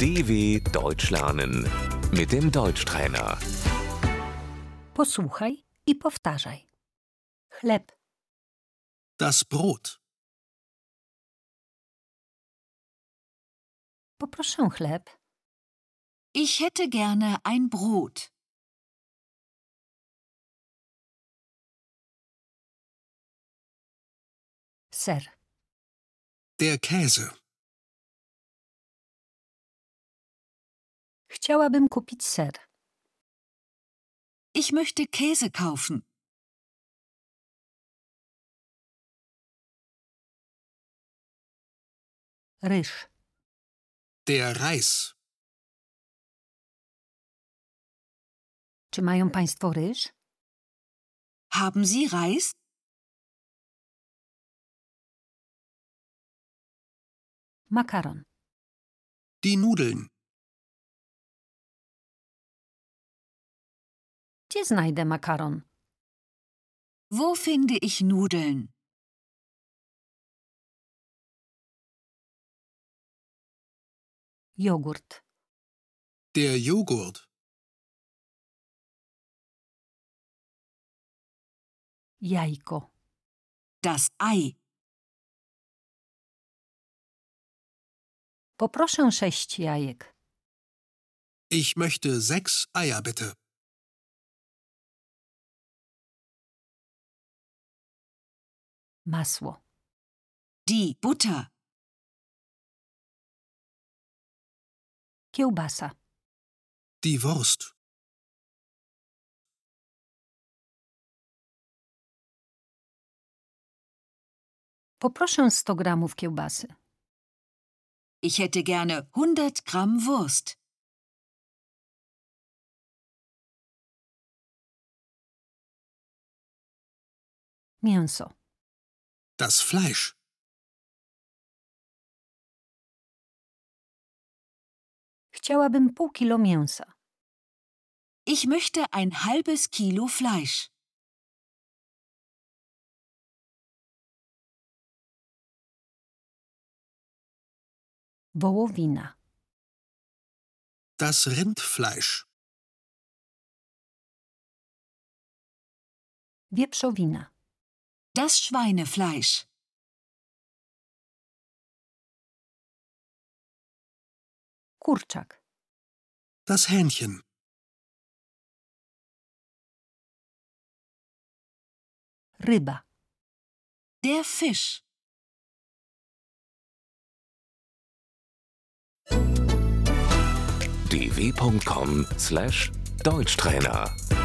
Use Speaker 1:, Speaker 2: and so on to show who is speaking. Speaker 1: DW Deutsch lernen mit dem Deutschtrainer.
Speaker 2: Posłuchaj i powtarzaj. Chleb,
Speaker 3: Das Brot.
Speaker 2: poproszę chleb,
Speaker 4: Ich hätte gerne ein Brot.
Speaker 2: ser,
Speaker 3: Der Käse.
Speaker 2: chciałabym kupić ser,
Speaker 4: Ich möchte Käse kaufen.
Speaker 2: ryż,
Speaker 3: Der Reis.
Speaker 2: Czy mają Państwo ryż?
Speaker 4: Haben Sie Reis?
Speaker 2: Makaron,
Speaker 3: Die Nudeln.
Speaker 2: gdzie znajdę makaron?
Speaker 4: Wo finde ich Nudeln?
Speaker 2: Jogurt,
Speaker 3: Der Joghurt.
Speaker 2: jajko,
Speaker 4: Das Ei.
Speaker 2: poproszę sześć jajek,
Speaker 3: Ich möchte sechs Eier bitte.
Speaker 2: masło,
Speaker 4: Die Butter.
Speaker 2: kiełbasa,
Speaker 3: Die Wurst.
Speaker 2: poproszę 100 gramów kiełbasy,
Speaker 4: Ich hätte gerne 100 Gramm Wurst.
Speaker 2: mięso,
Speaker 3: Das Fleisch.
Speaker 2: chciałabym pół kilo mięsa,
Speaker 4: Ich möchte ein halbes Kilo Fleisch.
Speaker 2: wołowina,
Speaker 3: Das Rindfleisch.
Speaker 2: wieprzowina,
Speaker 4: Das Schweinefleisch.
Speaker 2: kurczak,
Speaker 3: Das Hähnchen.
Speaker 2: ryba,
Speaker 4: Der Fisch.
Speaker 1: dw.com/deutschtrainer